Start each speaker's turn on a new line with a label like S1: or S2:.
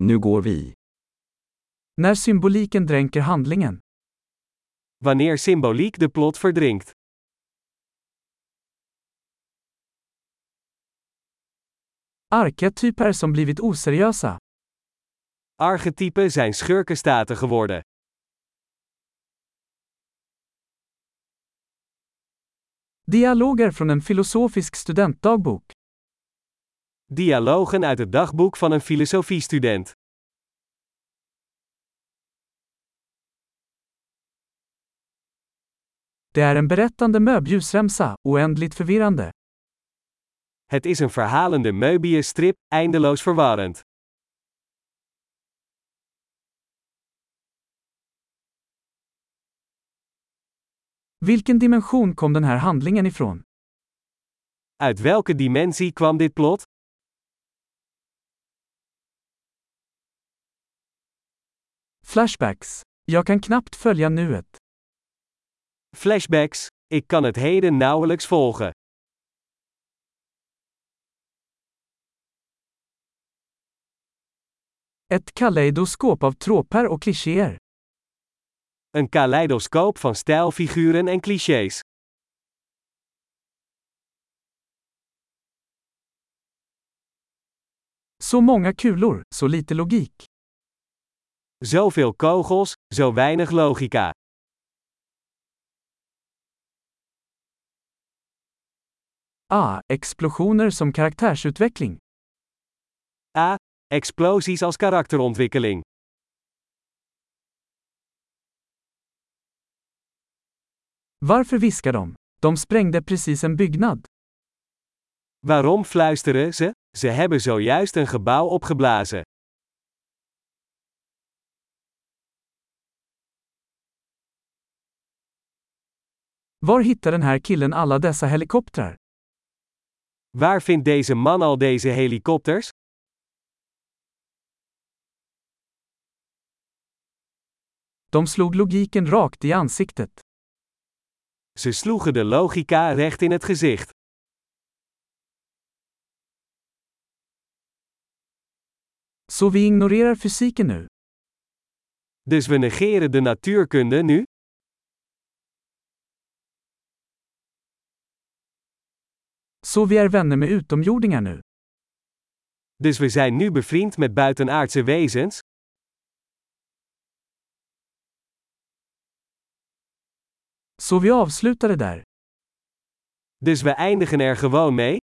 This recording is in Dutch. S1: Nu går vi.
S2: När symboliken dränker handlingen.
S3: Wanneer symboliek de plot verdrinkt.
S2: Arketyper som blivit oseriösa.
S3: Archetypen zijn schurkenstaten geworden.
S2: Dialoger från en filosofisk studentdagbok.
S3: Dialogen uit het dagboek van een filosofiestudent.
S2: Det är en berättande möbljusremsa, oändligt förvirrande.
S3: Het is een verhalende Möbius-strip, eindeloos verwarrend.
S2: Vilken dimension kom den här handlingen ifrån?
S3: Uit welke dimensie kwam dit plot?
S2: Flashbacks. Jag kan knappt följa nuet.
S3: Flashbacks. Ik kan het heden nauwelijks volgen.
S2: Ett kaleidoskop av tråper och klichéer.
S3: Een kaleidoscoop van stijlfiguren en clichés.
S2: Så många kulor, så lite logik.
S3: Zoveel kogels, zo weinig logica.
S2: Ah, explosioner som karaktärsutveckling.
S3: A. Explosies als karakterontwikkeling.
S2: Varför viskar de? De sprängde precis en byggnad.
S3: Waarom fluisteren ze? Ze hebben zojuist een gebouw opgeblazen.
S2: Var hittar den här killen alla dessa helikoptrar?
S3: Waar vindt deze man al deze helikopters?
S2: De slog logiken rakt i ansiktet.
S3: Ze sloegen de logica recht in het gezicht.
S2: Så vi ignorerar fysiken nu.
S3: Dus we negeren de natuurkunde nu?
S2: Så vi är vänner med utomjordingar nu.
S3: Dus we zijn nu bevriend met buitenaardse wezens?
S2: Så vi avslutar det där.
S3: Dus we eindigen er gewoon mee?